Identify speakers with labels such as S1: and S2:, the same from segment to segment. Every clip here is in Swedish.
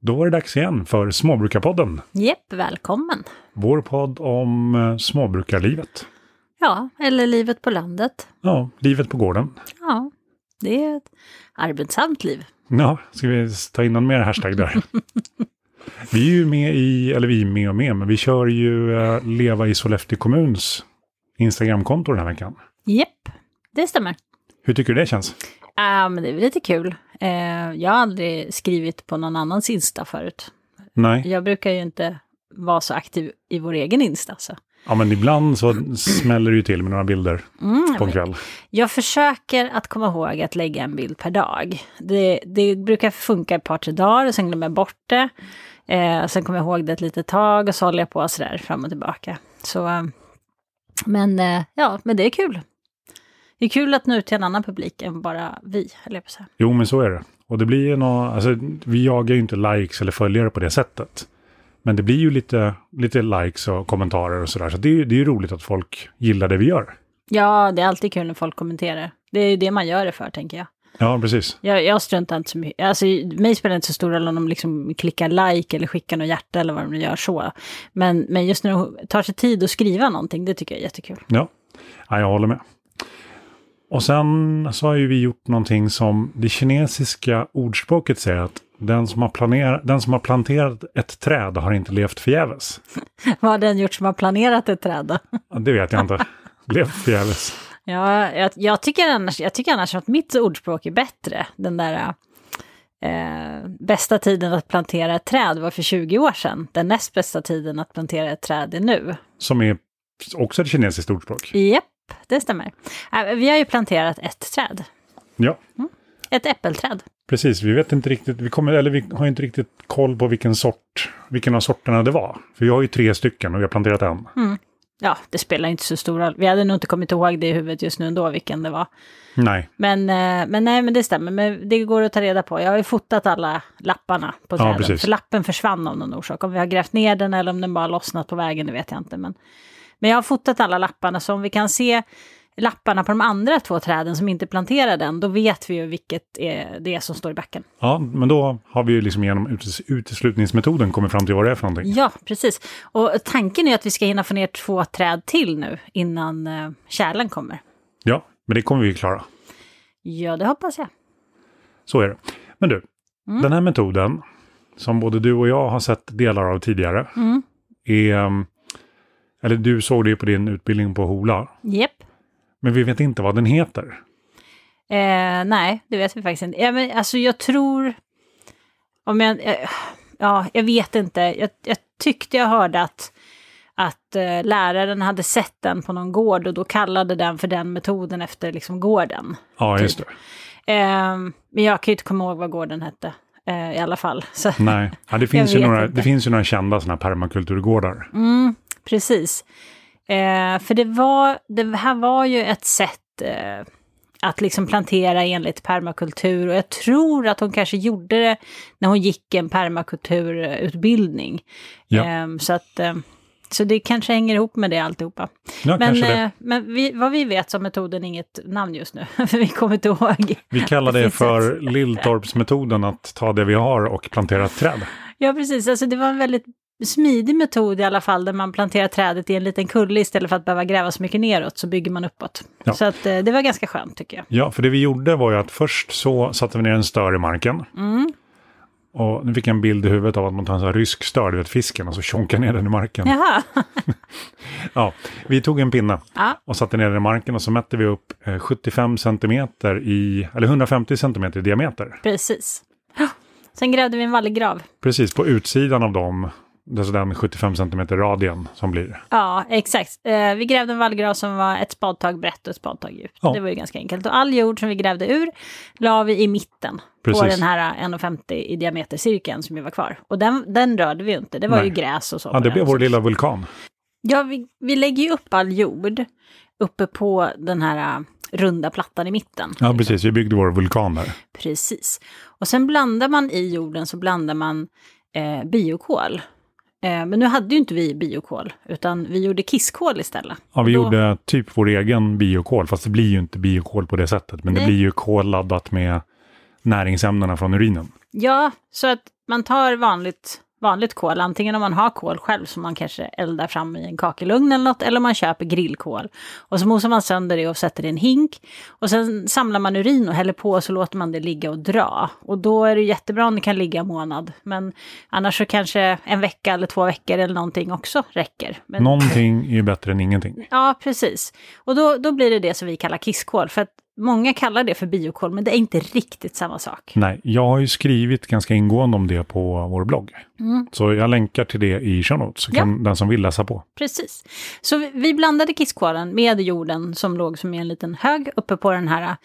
S1: Då var det dags igen för Småbrukarpodden.
S2: Jepp, välkommen.
S1: Vår podd om eh, småbrukarlivet.
S2: Ja, eller livet på landet.
S1: Ja, livet på gården.
S2: Ja, det är ett arbetsamt liv.
S1: Ja, ska vi ta in någon mer hashtag där? vi är ju med i, eller vi är med och med, men vi kör ju eh, Leva i Sollefteå kommuns Instagramkonto den här veckan.
S2: Jepp, det stämmer.
S1: Hur tycker du det känns?
S2: Ja, men det är väl lite kul. Eh, jag har aldrig skrivit på någon annans Insta förut.
S1: Nej,
S2: Jag brukar ju inte vara så aktiv i vår egen Insta. Så.
S1: ja men ibland så smäller det ju till med några bilder
S2: Mm,
S1: på en kväll.
S2: jag försöker att komma ihåg att lägga en bild per dag. Det, det brukar funka ett par, tre dagar, och sen glömmer jag bort det. Eh, sen kommer jag ihåg det ett litet tag och så håller jag på sådär fram och tillbaka. Så, eh, men eh, ja, men det är kul. Det är kul att nå ut till en annan publik än bara vi, eller på så här.
S1: Jo, men så är det. Och det blir ju nå, alltså, vi jagar ju inte likes eller följare på det sättet. Men det blir ju lite, lite likes och kommentarer och sådär. Så det är ju det är ju roligt att folk gillar det vi gör.
S2: Ja, det är alltid kul när folk kommenterar. Det är ju det man gör det för, tänker jag.
S1: Ja, precis.
S2: Jag, jag struntar inte så mycket. Alltså, mig spelar det inte så stor roll om de liksom klickar like eller skickar något hjärta eller vad de nu gör så. Men, men just när de tar sig tid att skriva någonting, det tycker jag är jättekul.
S1: Ja. ja, jag håller med. Och sen så har ju vi gjort någonting som det kinesiska ordspråket säger att den som har, planer, den som har planterat ett träd har inte levt förgäves.
S2: Vad har den gjort som har planerat ett träd då?
S1: Ja, Det vet jag inte. levt förgäves.
S2: Ja, jag, jag, tycker annars, jag tycker annars att mitt ordspråk är bättre. Den där eh, bästa tiden att plantera ett träd var för 20 år sedan. Den näst bästa tiden att plantera ett träd är nu.
S1: Som är också ett kinesiskt ordspråk.
S2: Japp, det stämmer. Äh, Vi har ju planterat ett träd,
S1: Ja.
S2: ett äppelträd.
S1: Precis, vi vet inte riktigt, vi, kommer, eller vi har inte riktigt koll på vilken sort, vilken av sorterna det var. För vi har ju tre stycken och vi har planterat en.
S2: Mm. ja, det spelar inte så stor roll. Vi hade nog inte kommit ihåg det i huvudet just nu ändå, vilken det var.
S1: Nej,
S2: Men, eh, men nej, men det stämmer. Men det går att ta reda på. Jag har ju fotat alla lapparna på
S1: Ja,
S2: träden.
S1: precis.
S2: för lappen försvann av någon orsak. Om vi har grävt ner den eller om den bara lossnat på vägen, det vet jag inte. Men, men jag har fotat alla lapparna, så om vi kan se lapparna på de andra två träden som inte planterade den, då vet vi ju vilket är det är som står i backen.
S1: ja, men då har vi ju liksom genom utes- uteslutningsmetoden kommit fram till vad det är för någonting.
S2: Ja, precis. Och tanken är att vi ska hinna få ner två träd till nu innan eh, kärlen kommer.
S1: Ja, men det kommer vi ju klara.
S2: Ja, det hoppas jag.
S1: Så är det. Men du,
S2: Mm.
S1: den här metoden, som både du och jag har sett delar av tidigare,
S2: Mm.
S1: är... ehm, Eller du såg det ju på din utbildning på Hola,
S2: Japp.
S1: men vi vet inte vad den heter.
S2: Eh, nej, det vet vi faktiskt inte. Ja, men, alltså jag tror... Om jag, eh, ja, jag vet inte. Jag, jag tyckte jag hörde att, att eh, läraren hade sett den på någon gård och då kallade den för den metoden efter liksom, gården.
S1: Ja, just det.
S2: Typ. Eh, men jag kan ju inte komma ihåg vad gården hette eh, i alla fall. Så,
S1: Nej, ja, det, finns ju
S2: vet
S1: några,
S2: inte.
S1: det finns ju några kända sådana här permakulturgårdar.
S2: precis. Eh, för det, var, det här var ju ett sätt eh, att liksom plantera enligt permakultur och jag tror att hon kanske gjorde det när hon gick en permakulturutbildning.
S1: Ja.
S2: Eh, så, att, eh, så det kanske hänger ihop med det alltihopa.
S1: Ja,
S2: men
S1: kanske det.
S2: eh, men vi, vad vi vet så har metoden inget namn just nu, för vi kommer inte ihåg.
S1: Vi kallar det
S2: finns
S1: för Lilltorpsmetoden att ta det vi har och plantera ett träd.
S2: Ja, precis. Alltså, det var en väldigt smidig metod i alla fall, där man planterar trädet i en liten kulle istället för att behöva gräva så mycket neråt, så bygger man uppåt.
S1: Ja.
S2: Så att, eh, det var ganska skönt tycker jag.
S1: Ja, för det vi gjorde var ju att först så satte vi ner en stör i marken.
S2: Mm.
S1: Och nu fick jag en bild i huvudet av att man tar en sån här rysk stör, du vet fisken, och så tjonkar ner den i marken. Ja.
S2: Jaha,
S1: vi tog en pinne
S2: Ja.
S1: och satte ner den i marken och så mätte vi upp eh, 75 centimeter i, eller 150 centimeter i diameter.
S2: precis. Ja. Sen grävde vi en vallgrav.
S1: Precis på utsidan av dem, alltså den 75 centimeter radien som blir.
S2: Ja, exakt. Eh, vi grävde en vallgrav som var ett spadtag brett och ett spadtag djupt.
S1: Ja.
S2: Det var ju ganska enkelt. Och all jord som vi grävde ur la vi i mitten på
S1: Precis.
S2: den här eh, 1,50 i diameter cirkeln som ju var kvar. Och den, den rörde vi ju inte, det var
S1: Nej.
S2: ju gräs och så. på
S1: Ja, det
S2: den.
S1: blev vår lilla vulkan.
S2: Ja, vi, vi lägger ju upp all jord uppe på den här eh, runda plattan i mitten.
S1: Ja, precis. Vi byggde vår vulkan där.
S2: Precis. Och sen blandar man i jorden så blandar man eh, biokol. Eh, men nu hade ju inte vi biokol, utan vi gjorde kisskol istället.
S1: Ja, vi
S2: Då-
S1: gjorde typ vår egen biokol, fast det blir ju inte biokol på det sättet, men det
S2: Nej.
S1: blir ju kol laddat med näringsämnena från urinen.
S2: Ja, så att man tar vanligt, vanligt kol, antingen om man har kol själv som man kanske eldar fram i en kakelugn eller något, eller man köper grillkol. Och så mosar man sönder det och sätter det i en hink. Och sen samlar man urin och häller på och så låter man det ligga och dra. Och då är det jättebra om det kan ligga en månad. Men annars så kanske en vecka eller två veckor eller någonting också räcker. Men,
S1: Någonting är ju bättre än ingenting.
S2: Ja, precis. Och då, då blir det det som vi kallar kisskål. För att många kallar det för biokol, men det är inte riktigt samma sak.
S1: Nej, jag har ju skrivit ganska ingående om det på vår blogg. Så jag länkar till det i show notes, så
S2: Mm. Ja.
S1: kan den som vill läsa på.
S2: Precis. Så vi- vi blandade kisskålen med jorden som låg som i en liten hög uppe på den här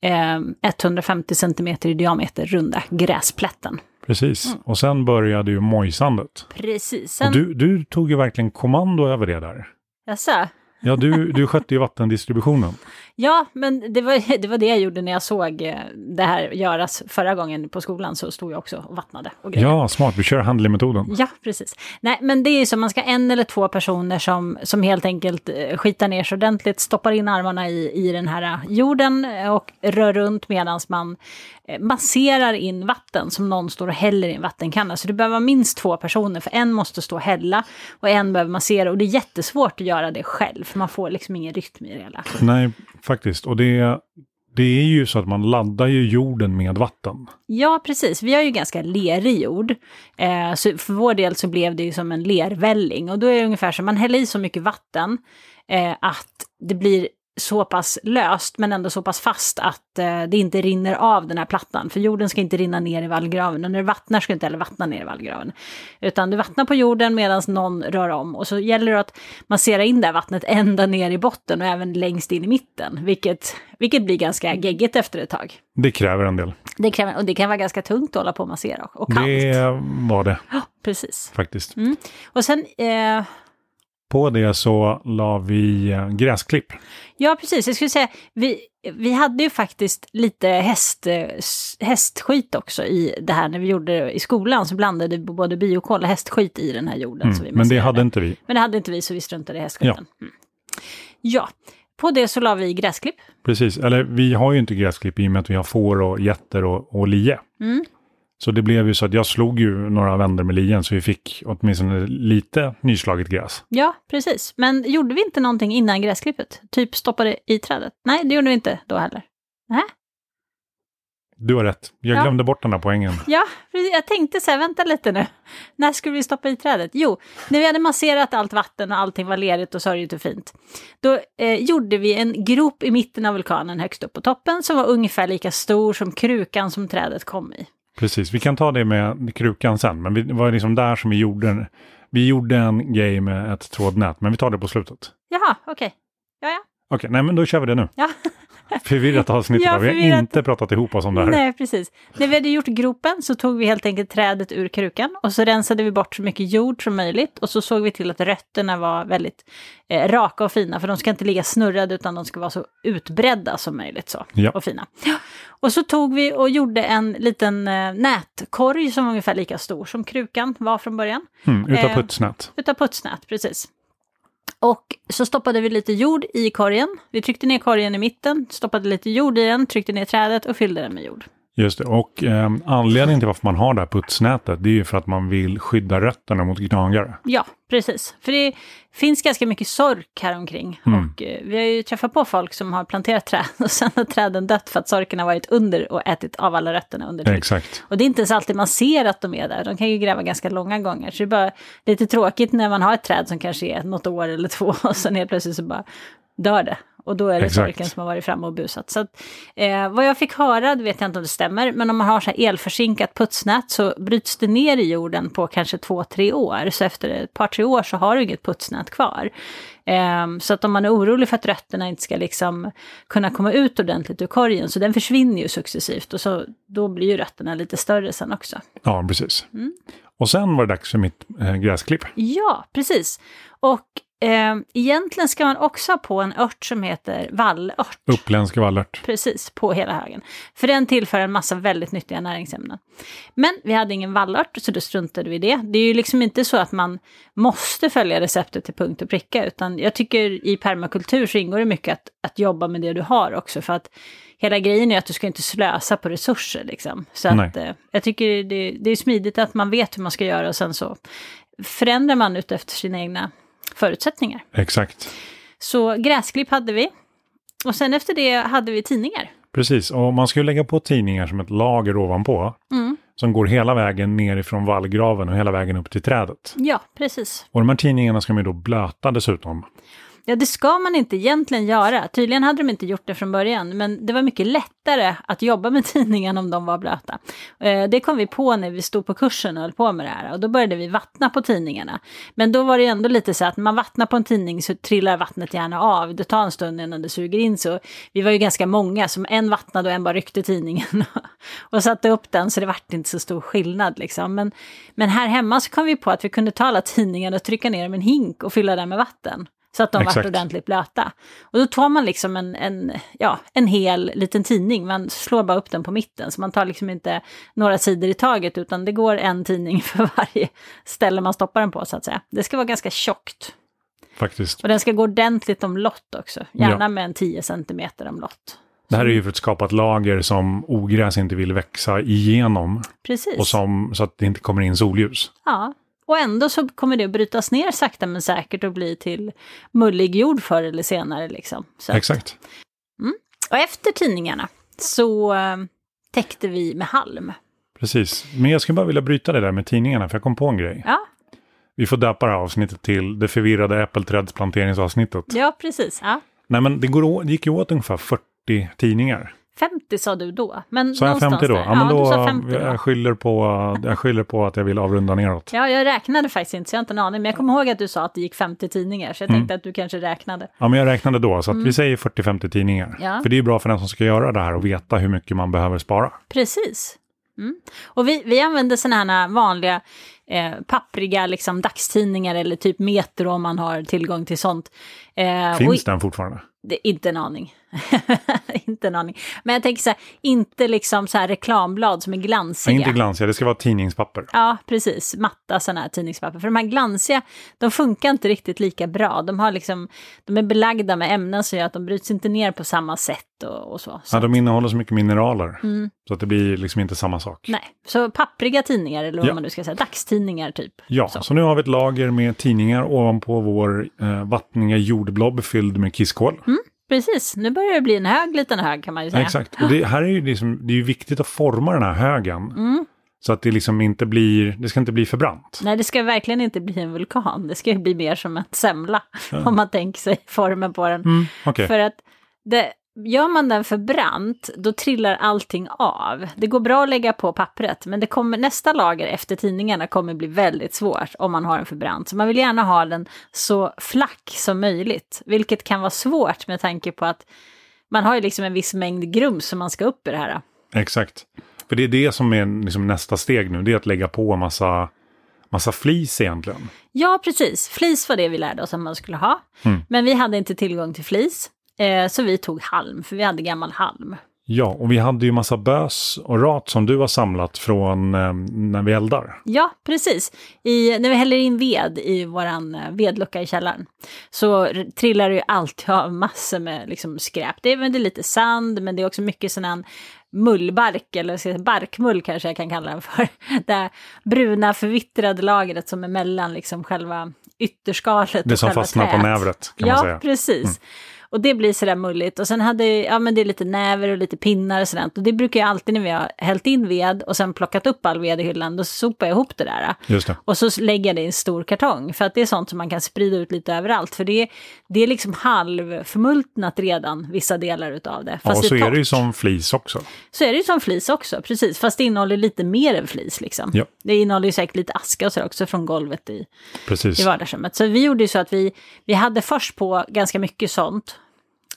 S2: eh, 150 cm i diameter runda gräsplätten.
S1: Precis.
S2: Mm.
S1: Och sen började ju mojsandet.
S2: Precis.
S1: Och
S2: Sen,
S1: du,
S2: du...
S1: du tog ju verkligen kommando över det där. Ja, du, du skötte ju vattendistributionen.
S2: ja, men det var, det var det jag gjorde när jag såg eh, det här göras förra gången på skolan, så stod jag också och vattnade och grejade.
S1: Ja, smart. Vi kör handlemetoden.
S2: Ja, precis. Nej, men det är ju så, man ska en eller två personer som, som helt enkelt eh, skitar ner sig ordentligt, stoppar in armarna i, i den här eh, jorden eh, och rör runt medan man eh, masserar in vatten som någon står och häller i en vattenkanna. Så det behöver vara minst två personer, för en måste stå och hälla och en behöver massera. Och det är jättesvårt att göra det själv, för man får liksom ingen rytm i det hela.
S1: Nej, faktiskt. Och det, det är ju så att man laddar ju jorden med vatten.
S2: Ja, precis. Vi har ju ganska lerig jord. Eh, så för vår del så blev det ju som en lervälling. Och då är det ungefär som man häller i så mycket vatten eh, att det blir så pass löst men ändå så pass fast att eh, det inte rinner av den här plattan. För jorden ska inte rinna ner i vallgraven och när det vattnar ska det inte heller vattna ner i vallgraven. Utan du vattnar på jorden medan någon rör om och så gäller det att massera in det här vattnet ända ner i botten och även längst in i mitten. Vilket, vilket blir ganska geggigt efter ett tag.
S1: Det kräver en del.
S2: Det kan, och det kan vara ganska tungt att hålla på och massera och kallt.
S1: Det var det
S2: Ja, precis.
S1: faktiskt.
S2: Och sen, eh,
S1: På det så la vi eh, gräsklipp.
S2: ja precis, jag skulle säga, vi, vi hade ju faktiskt lite häst, eh, s- hästskit också i det här när vi gjorde det i skolan, så blandade vi både biokol och hästskit i den här jorden. som vi
S1: Mm. Men det
S2: masserade.
S1: hade inte vi.
S2: Men det hade inte vi, så vi struntade i hästskiten. Ja. Mm. ja, på det så la vi gräsklipp.
S1: Precis. Eller vi har ju inte gräsklipp i och med att vi har får och getter och, och lie.
S2: Mm.
S1: Så det blev ju så att jag slog ju några vänder med lien så vi fick åtminstone lite nyslaget gräs.
S2: Ja, precis. Men gjorde vi inte någonting innan gräsklippet? Typ stoppade i trädet? Nej, det gjorde vi inte då heller.
S1: Du har rätt. Jag
S2: Ja.
S1: glömde bort den här poängen.
S2: Ja, precis. jag tänkte så här, vänta lite nu. När skulle vi stoppa i trädet? Jo, när vi hade masserat allt vatten och allting var lerigt och sörjigt och fint. Då eh, gjorde vi en grop i mitten av vulkanen högst upp på toppen som var ungefär lika stor som krukan som trädet kom i.
S1: Precis, vi kan ta det med krukan sen, men vi det var liksom där som vi gjorde en, vi gjorde en grej med ett trådnät, men vi tar det på slutet.
S2: Jaha, okej. Ja, ja.
S1: Okej, nej men då kör vi det nu.
S2: Ja.
S1: Förvirrat avsnitt
S2: Ja,
S1: idag, vi har
S2: förvirrat.
S1: inte pratat ihop oss om det här.
S2: Nej, precis. När vi hade gjort gropen så tog vi helt enkelt trädet ur krukan och så rensade vi bort så mycket jord som möjligt och så såg vi till att rötterna var väldigt eh, raka och fina för de ska inte ligga snurrade utan de ska vara så utbredda som möjligt så
S1: Ja.
S2: och fina. Ja. Och så tog vi och gjorde en liten eh, nätkorg som var ungefär lika stor som krukan var från början.
S1: Mm, utav
S2: Eh,
S1: putsnät.
S2: Utav putsnät, precis. Och så stoppade vi lite jord i korgen. Vi tryckte ner korgen i mitten, stoppade lite jord i den, tryckte ner trädet och fyllde den med jord.
S1: Just det, och ehm, anledningen till varför man har det här putsnätet, det är ju för att man vill skydda rötterna mot gnagare.
S2: Ja, precis. För det finns ganska mycket sork här omkring. Och eh, vi har ju träffat på folk som har planterat träd och sen har träden dött för att sorken har varit under och ätit av alla rötterna under tryck.
S1: Exakt.
S2: Och det är inte ens alltid man ser att de är där. De kan ju gräva ganska långa gånger. Så det är bara lite tråkigt när man har ett träd som kanske är något år eller två och sen helt plötsligt så bara dör det. Och då är det
S1: Exakt.
S2: sorken som har varit framme och busat. Så att, eh, vad jag fick höra, det vet jag inte om det stämmer, men om man har så här elförsinkat putsnät så bryts det ner i jorden på kanske två, tre år. Så efter ett par, tre år så har du inget putsnät kvar. Ehm, så att om man är orolig för att rötterna inte ska liksom kunna komma ut ordentligt ur korgen, så den försvinner ju successivt och så, då blir ju rötterna lite större sen också. Mm.
S1: Ja, precis. Och sen var det dags för mitt eh, gräsklipp.
S2: Ja, precis. Och eh, egentligen ska man också ha på en ört som heter vallört.
S1: Uppländsk vallört.
S2: Precis, på hela högen. För den tillför en massa väldigt nyttiga näringsämnen. Men vi hade ingen vallört, så då struntade vi i det. Det är ju liksom inte så att man måste följa receptet till punkt och pricka, utan jag tycker i permakultur så ingår det mycket att, att jobba med det du har också, för att hela grejen är att du ska inte slösa på resurser liksom. Så
S1: Nej.
S2: att, eh, jag tycker det, det är smidigt att man vet hur man ska göra och sen så förändrar man ut efter sina egna förutsättningar.
S1: Exakt.
S2: Så gräsklipp hade vi. Och sen efter det hade vi tidningar.
S1: Precis, och man ska ju lägga på tidningar som ett lager ovanpå. Som går hela vägen nerifrån vallgraven och hela vägen upp till trädet.
S2: Ja, precis.
S1: Och de här tidningarna ska man ju då blöta dessutom.
S2: Ja, det ska man inte egentligen göra. Tydligen hade de inte gjort det från början, men det var mycket lättare att jobba med tidningen om de var blöta. Eh, Det kom vi på när vi stod på kursen och höll på med det här, och då började vi vattna på tidningarna. Men då var det ändå lite så att när man vattnar på en tidning så trillar vattnet gärna av, det tar en stund innan det suger in, så vi var ju ganska många som en vattnade och en bara ryckte tidningen och satte upp den, så det vart inte så stor skillnad liksom. Men, men här hemma så kom vi på att vi kunde ta alla tidningarna och trycka ner dem i en hink och fylla den med vatten. Så att de
S1: Exakt.
S2: vart ordentligt blöta. Och då tar man liksom en, en, ja, en hel liten tidning, man slår bara upp den på mitten. Så man tar liksom inte några sidor i taget, utan det går en tidning för varje ställe man stoppar den på så att säga. Det ska vara ganska tjockt.
S1: Faktiskt.
S2: Och den ska gå ordentligt omlott också, gärna
S1: Ja.
S2: med en 10 cm omlott.
S1: Det här är ju för att skapa ett lager som ogräs inte vill växa igenom.
S2: Precis.
S1: Och som, så att det inte kommer in solljus.
S2: Ja. Och ändå så kommer det att brytas ner sakta men säkert och bli till mullig jord förr eller senare. Liksom. Så. att-
S1: Exakt.
S2: Och efter tidningarna så eh, täckte vi med halm.
S1: Precis. Men jag skulle bara vilja bryta det där med tidningarna, för jag kom på en grej.
S2: Ja,
S1: Vi får döpa det här avsnittet till det förvirrade äppelträdsplanteringsavsnittet.
S2: ja precis. Ja.
S1: Nej, men det, går, å- det gick ju åt ungefär 40 tidningar.
S2: 50 sa du då. Men
S1: Sa jag
S2: någonstans
S1: 50 då?
S2: där.
S1: Ja, men
S2: du
S1: då,
S2: sa 50 då.
S1: jag, skyller på, jag skyller på att jag vill avrunda neråt.
S2: Ja, jag räknade faktiskt inte, så jag har inte en aning. Men jag kommer ihåg att du sa att det gick 50 tidningar, så jag
S1: Mm.
S2: tänkte att du kanske räknade.
S1: Ja, men jag räknade då, så att vi säger 40-50 tidningar.
S2: Mm. Ja.
S1: För det är ju bra för den som ska göra det här och veta hur mycket man behöver spara.
S2: Precis. Mm. Och vi, vi använder sådana här vanliga eh, pappriga liksom, dagstidningar eller typ Metro om man har tillgång till sånt. Eh, och i-
S1: Finns den fortfarande?
S2: Det, inte en aning. inte en aning. Men jag tänker så här, inte liksom så här reklamblad som är
S1: Ja,
S2: glansiga.
S1: inte glansiga, det ska vara tidningspapper.
S2: Ja, precis. Matta sådana här tidningspapper. För de här glansiga, de funkar inte riktigt lika bra. De, har liksom, de är belagda med ämnen som gör att de bryts inte ner på samma sätt och, och så. så
S1: Ja, de innehåller så mycket mineraler, så att det blir liksom inte samma sak.
S2: Mm. Nej, så pappriga tidningar eller vad
S1: Ja.
S2: man nu ska säga, dagstidningar typ.
S1: Ja,
S2: Så.
S1: så. nu har vi ett lager med tidningar ovanpå vår eh, vattniga jordblob fylld med kisskål.
S2: Mm. Precis, nu börjar det bli en hög liten hög kan man ju säga.
S1: Exakt, och det här är ju liksom, det är ju viktigt att forma den här högen.
S2: Mm.
S1: Så att det liksom inte blir, det ska inte bli för brant.
S2: Nej, det ska verkligen inte bli en vulkan. Det ska ju bli mer som en semla, om man tänker sig formen på den.
S1: Mm, okej.
S2: För att det, gör man den för brant, då trillar allting av. Det går bra att lägga på pappret, men det kommer, nästa lager efter tidningarna kommer bli väldigt svårt om man har den för brant. Så man vill gärna ha den så flack som möjligt, vilket kan vara svårt med tanke på att man har ju liksom en viss mängd grums som man ska upp i det här.
S1: Exakt. För det är det som är liksom nästa steg nu, det är att lägga på en massa, massa flis egentligen.
S2: Ja, precis. Flis var det vi lärde oss att man skulle ha. Men vi hade inte tillgång till flis, eh, så vi tog halm, för vi hade gammal halm.
S1: Ja, och vi hade ju massa bös och rat som du har samlat från eh, när vi eldar.
S2: Ja, precis. I, när vi häller in ved i våran eh, vedlucka i källaren så r- trillar det ju alltid av massor med liksom, skräp. Det är, men det är lite sand, men det är också mycket sån här mullbark, eller ska jag säga, barkmull kanske jag kan kalla den för. Det här bruna förvittrade lagret som är mellan liksom, själva ytterskalet
S1: Det
S2: och
S1: som
S2: själva
S1: fastnar på
S2: träet.
S1: nävret kan
S2: ja,
S1: man säga.
S2: precis.
S1: Mm.
S2: Och det blir sådär mulligt. Och sen hade, ja men det är lite näver och lite pinnar och sådant. Och det brukar jag alltid när vi har hällt in ved och sen plockat upp all ved i hyllan, då sopar jag ihop det där.
S1: Just det.
S2: Och så lägger jag det i en stor kartong, för att det är sånt som man kan sprida ut lite överallt. För det är, det är liksom halvförmultnat redan, vissa delar utav det.
S1: Ja, och så är det ju
S2: torrt.
S1: som flis också.
S2: så är det ju som flis också, precis. Fast det innehåller lite mer än flis liksom.
S1: Ja.
S2: Det innehåller ju säkert lite aska och så också från golvet i, i
S1: Precis.
S2: vardagsrummet. Så vi gjorde ju så att vi, vi hade först på ganska mycket sånt.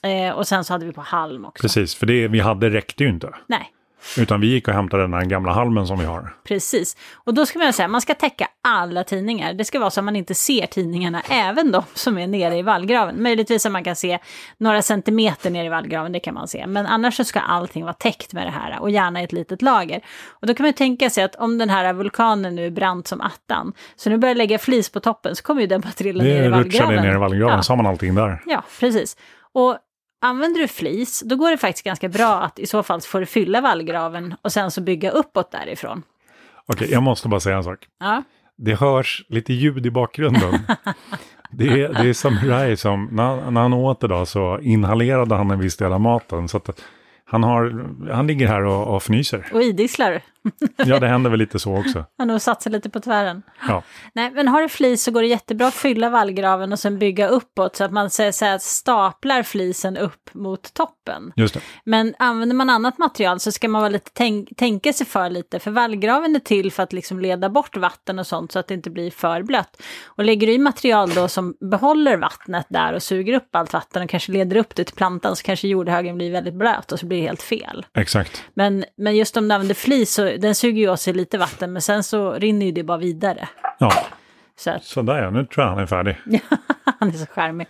S2: Eh, och sen så hade vi på halm också.
S1: Precis, för det vi hade räckte ju inte.
S2: Nej.
S1: Utan vi gick och hämtade den här gamla halmen som vi har.
S2: Precis. Och då ska man säga, man ska täcka alla tidningar. Det ska vara så att man inte ser tidningarna, även de som är nere i vallgraven. Möjligtvis att man kan se några centimeter ner i vallgraven, det kan man se. Men annars så ska allting vara täckt med det här, och gärna i ett litet lager. Och då kan man tänka sig att om den här vulkanen nu är brant som attan, så nu börjar jag lägga flis på toppen, så kommer ju den bara trilla ner
S1: Det
S2: i
S1: rutschade
S2: vallgraven.
S1: ner i vallgraven,
S2: Ja.
S1: så har man allting där.
S2: Ja, precis. Och använder du flis, då går det faktiskt ganska bra att i så fall får du fylla vallgraven och sen så bygga uppåt därifrån.
S1: Okej, jag måste bara säga en sak.
S2: Ja,
S1: Det hörs lite ljud i bakgrunden. Det är, det är Samurai som, när han, när han åt idag så inhalerade han en viss del av maten. Så att han, har, han ligger här och, och fnyser.
S2: och idisslar.
S1: Ja, det händer väl lite så också.
S2: Han har satsat lite på tvären.
S1: Ja.
S2: Nej, men har du flis så går det jättebra att fylla vallgraven och sen bygga uppåt så att man så, så här, staplar flisen upp mot toppen.
S1: Just det.
S2: Men använder man annat material så ska man vara lite tänk- tänka sig för lite, för vallgraven är till för att liksom leda bort vatten och sånt så att det inte blir för blött. Och lägger du i material då som behåller vattnet där och suger upp allt vatten och kanske leder upp det till plantan så kanske jordhögen blir väldigt blöt och så blir det helt fel.
S1: Exakt.
S2: Men, men just om du använder flis, så, den suger ju åt sig lite vatten men sen så rinner ju det bara vidare.
S1: Ja,
S2: Så att
S1: sådär ja. Nu tror jag han är färdig.
S2: han är så charmig.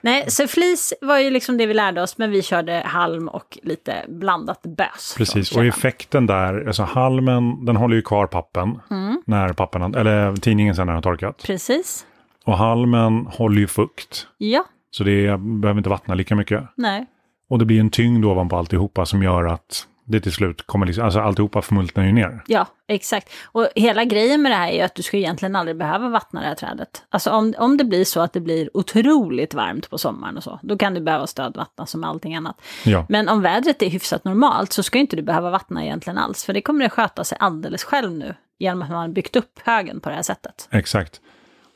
S2: Nej, så flis var ju liksom det vi lärde oss, men vi körde halm och lite blandat bös. från
S1: Precis, och
S2: källan.
S1: effekten där, alltså halmen, den håller ju kvar pappen när pappen, eller tidningen sen när den har torkat.
S2: Precis.
S1: Och halmen håller ju fukt,
S2: Ja,
S1: så det behöver inte vattna lika mycket.
S2: nej.
S1: Och det blir en tyngd ovanpå alltihopa som gör att det till slut kommer liksom, alltså alltihopa förmultnar ju ner.
S2: Ja, exakt. Och hela grejen med det här är ju att du ska egentligen aldrig behöva vattna det här trädet. Alltså om, om det blir så att det blir otroligt varmt på sommaren och så, då kan du behöva stödvattna som allting annat.
S1: Ja,
S2: Men om vädret är hyfsat normalt så ska inte du behöva vattna egentligen alls, för det kommer att sköta sig alldeles själv nu, genom att man har byggt upp högen på det här sättet.
S1: exakt.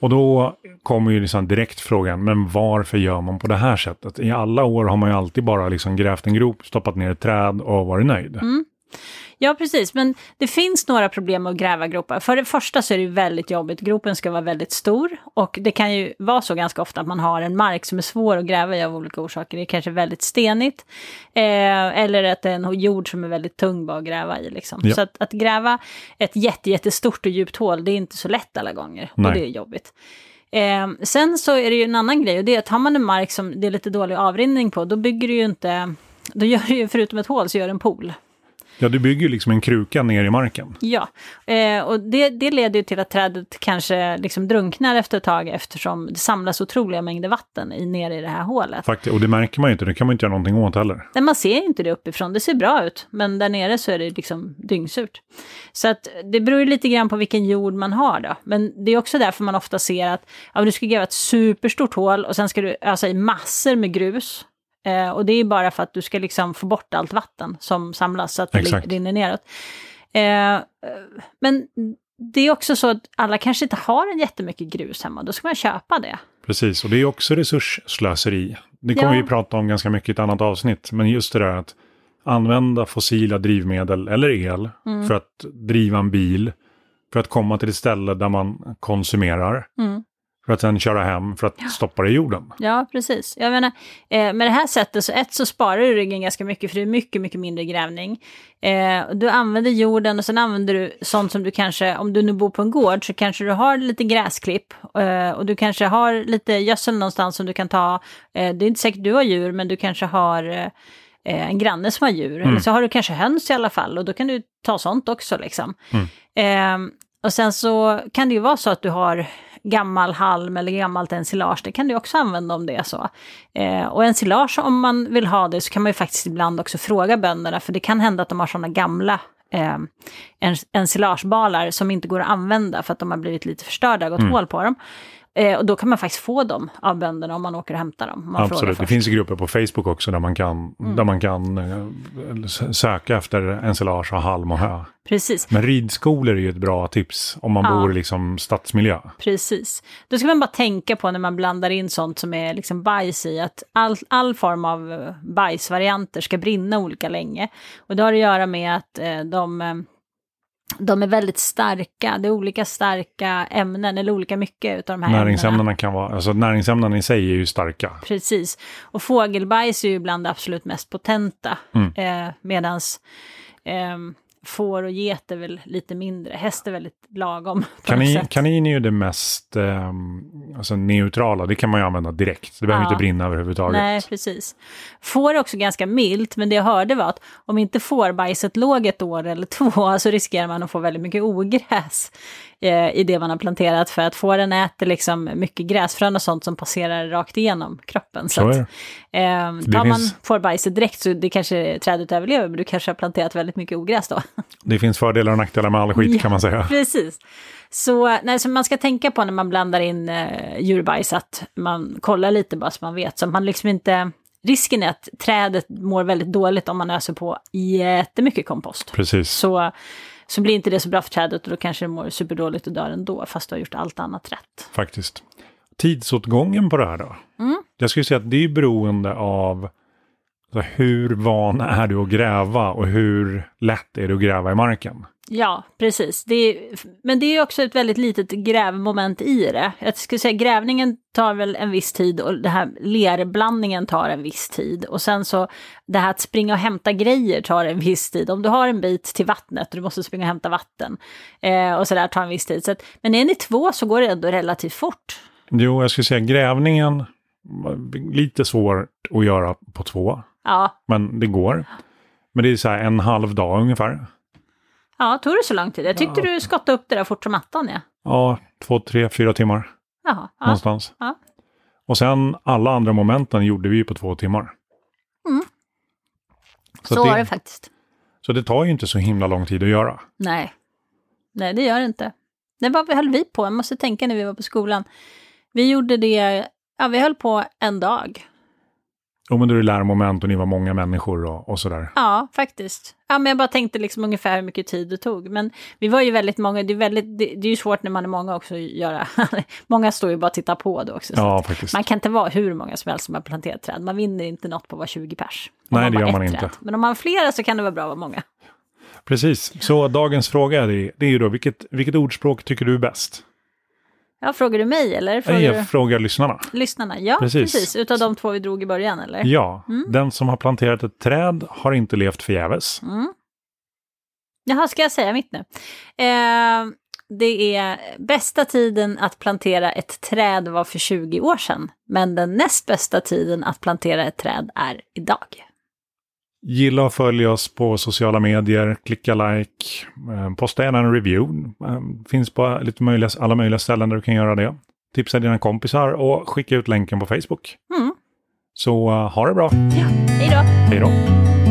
S1: Och då kommer ju liksom direkt frågan, men varför gör man på det här sättet? I alla år har man ju alltid bara liksom grävt en grop, stoppat ner ett träd och varit nöjd.
S2: Ja, precis. Men det finns några problem med att gräva gropar. För det första så är det ju väldigt jobbigt. Gropen ska vara väldigt stor. Och det kan ju vara så ganska ofta att man har en mark som är svår att gräva i av olika orsaker. Det är kanske väldigt stenigt. Eh, eller att det är en jord som är väldigt tung bara att gräva i. Liksom.
S1: Ja.
S2: Så att, att gräva ett jätte, jättestort och djupt hål, det är inte så lätt alla gånger.
S1: Nej.
S2: Och det är jobbigt. Eh, sen så är det ju en annan grej och det är att har man en mark som det är lite dålig avrinning på, då bygger du ju inte... Då gör du ju, förutom ett hål, så gör du en pool.
S1: Ja, du bygger ju liksom en kruka ner i marken.
S2: Ja, eh, och det, det leder ju till att trädet kanske liksom drunknar efter ett tag eftersom det samlas otroliga mängder vatten i, nere i det här hålet.
S1: Faktiskt, och det märker man ju inte, det kan man inte göra någonting åt heller.
S2: Nej, man ser inte det uppifrån, det ser bra ut, men där nere så är det liksom dyngsurt. Så att det beror ju lite grann på vilken jord man har då. Men det är också därför man ofta ser att ja, men du ska gräva ett superstort hål och sen ska du ösa i massor med grus. Eh, och det är ju bara för att du ska liksom få bort allt vatten som samlas så att det
S1: Exakt.
S2: rinner neråt. Eh, eh, men det är också så att alla kanske inte har en jättemycket grus hemma, då ska man köpa det.
S1: Precis, och det är också resursslöseri. Det kommer
S2: Ja.
S1: vi prata om ganska mycket i ett annat avsnitt, men just det där att använda fossila drivmedel eller el
S2: Mm.
S1: för att driva en bil, för att komma till ett ställe där man konsumerar,
S2: Mm.
S1: för att sen köra hem, för att stoppa det i jorden.
S2: Ja, precis. Jag menar, eh, med det här sättet, så ett så sparar du ryggen ganska mycket, för det är mycket, mycket mindre grävning. Eh, och du använder jorden och sen använder du sånt som du kanske, om du nu bor på en gård, så kanske du har lite gräsklipp eh, och du kanske har lite gödsel någonstans som du kan ta. Eh, det är inte säkert du har djur, men du kanske har eh, eh, en granne som har djur. Eller så har du kanske höns i alla fall och då kan du ta sånt också. Liksom. Eh, och sen så kan det ju vara så att du har gammal halm eller gammalt ensilage, det kan du också använda om det är så. Eh, och ensilage, om man vill ha det, så kan man ju faktiskt ibland också fråga bönderna, för det kan hända att de har sådana gamla eh, ens- ensilagebalar som inte går att använda för att de har blivit lite förstörda, gått
S1: Mm.
S2: hål på dem. Eh, och då kan man faktiskt få dem av bönderna om man åker och hämtar dem. om Man frågar
S1: Absolut, det
S2: först. Mm.
S1: finns ju grupper på Facebook också där man kan, där man kan eh, s- söka efter ensilage och halm och hö.
S2: Precis.
S1: Men ridskolor är ju ett bra tips om man
S2: Ja.
S1: bor i liksom stadsmiljö.
S2: Precis. Då ska man bara tänka på när man blandar in sånt som är liksom bajs i, att all, all form av eh, bajsvarianter ska brinna olika länge. Och det har att göra med att eh, de, eh, de är väldigt starka, det är olika starka ämnen, eller olika mycket utav de här ämnena.
S1: Näringsämnena kan vara, alltså näringsämnena i sig är ju starka.
S2: Precis. Och fågelbajs är ju bland det absolut mest potenta. Eh, Medan Ehm, får och get är väl lite mindre, häst är väldigt lagom. på något
S1: Kanin,
S2: sätt.
S1: kanin är ju det mest eh, alltså neutrala, det kan man ju använda direkt. Det behöver
S2: Ja.
S1: inte brinna överhuvudtaget.
S2: Nej, precis. Får är också ganska milt, men det jag hörde var att om inte fårbajset låg ett år eller två så riskerar man att få väldigt mycket ogräs eh, i det man har planterat. För att fåren äter liksom mycket gräsfrön och sånt som passerar rakt igenom kroppen. Så
S1: Så
S2: att,
S1: är det.
S2: eh, tar man
S1: finns-
S2: fårbajset direkt så det kanske trädet överlever, men du kanske har planterat väldigt mycket ogräs då.
S1: Det finns fördelar och nackdelar med all skit
S2: Ja.
S1: kan man säga.
S2: Precis. Så, nej, så man ska tänka på när man blandar in eh, djurbajs att man kollar lite bara så man vet. Så att man liksom inte... Risken är att trädet mår väldigt dåligt om man öser på jättemycket kompost.
S1: Precis.
S2: Så, så blir inte det så bra för trädet och då kanske det mår superdåligt och dör ändå, fast du har gjort allt annat rätt.
S1: faktiskt. Tidsåtgången på det här då?
S2: Mm.
S1: Jag skulle säga att det är beroende av alltså, hur van är du att gräva och hur lätt är det att gräva i marken?
S2: Ja, precis. Det är, men det är ju också ett väldigt litet grävmoment i det. Jag skulle säga grävningen tar väl en viss tid och det här lerblandningen tar en viss tid. Och sen så det här att springa och hämta grejer tar en viss tid. Om du har en bit till vattnet och du måste springa och hämta vatten eh, och sådär tar en viss tid. Så att, men är ni två så går det ändå relativt fort.
S1: Jo, jag skulle säga grävningen, lite svårt att göra på två,
S2: Ja,
S1: men det går. Men det är så här en halv dag ungefär.
S2: ja tog det så lång tid? Jag tyckte
S1: Ja.
S2: du skottade upp det där fort som attan. Ja.
S1: Ja, två, tre, fyra timmar
S2: Jaha, ja.
S1: någonstans.
S2: Ja.
S1: Och sen alla andra momenten gjorde vi ju på två timmar.
S2: Mm.
S1: Så,
S2: Så,
S1: att
S2: var det
S1: det,
S2: faktiskt.
S1: så det tar ju inte så himla lång tid att göra.
S2: Nej. Nej, det gör det inte. Nej, vad höll vi på? Jag måste tänka när vi var på skolan. Vi gjorde det, ja vi höll på en dag.
S1: Jo, men då är det lärmoment och ni var många människor och, och sådär.
S2: Ja, faktiskt. Ja, men jag bara tänkte liksom ungefär hur mycket tid det tog. Men vi var ju väldigt många, det är, väldigt, det, det är ju svårt när man är många också att göra. många står ju bara och tittar på då också. så
S1: Ja,
S2: att
S1: faktiskt.
S2: Man kan inte vara hur många som helst som har planterat träd. Man vinner inte något på att vara 20 pers. Om
S1: Nej, det
S2: bara
S1: gör man
S2: ett
S1: inte.
S2: träd. Men om man har flera så kan det vara bra att vara många.
S1: Precis. Så dagens fråga är, det är ju då, vilket, vilket ordspråk tycker du är bäst?
S2: Ja, frågar du mig eller? Frågar
S1: Nej,
S2: du
S1: Jag frågar lyssnarna.
S2: lyssnarna? Ja,
S1: Precis.
S2: precis. Utav de två vi drog i början eller?
S1: Ja,
S2: Mm.
S1: den som har planterat ett träd har inte levt förgäves.
S2: Jaha, ska jag säga mitt nu? Eh, det är bästa tiden att plantera ett träd var för 20 år sedan, men den näst bästa tiden att plantera ett träd är idag.
S1: Gilla och följ oss på sociala medier, klicka like, eh, posta gärna en review. Eh, Finns på lite möjliga, alla möjliga ställen där du kan göra det. Tipsa dina kompisar och skicka ut länken på Facebook.
S2: Mm.
S1: Så eh, ha det bra.
S2: Ja, hej då!
S1: Hej då.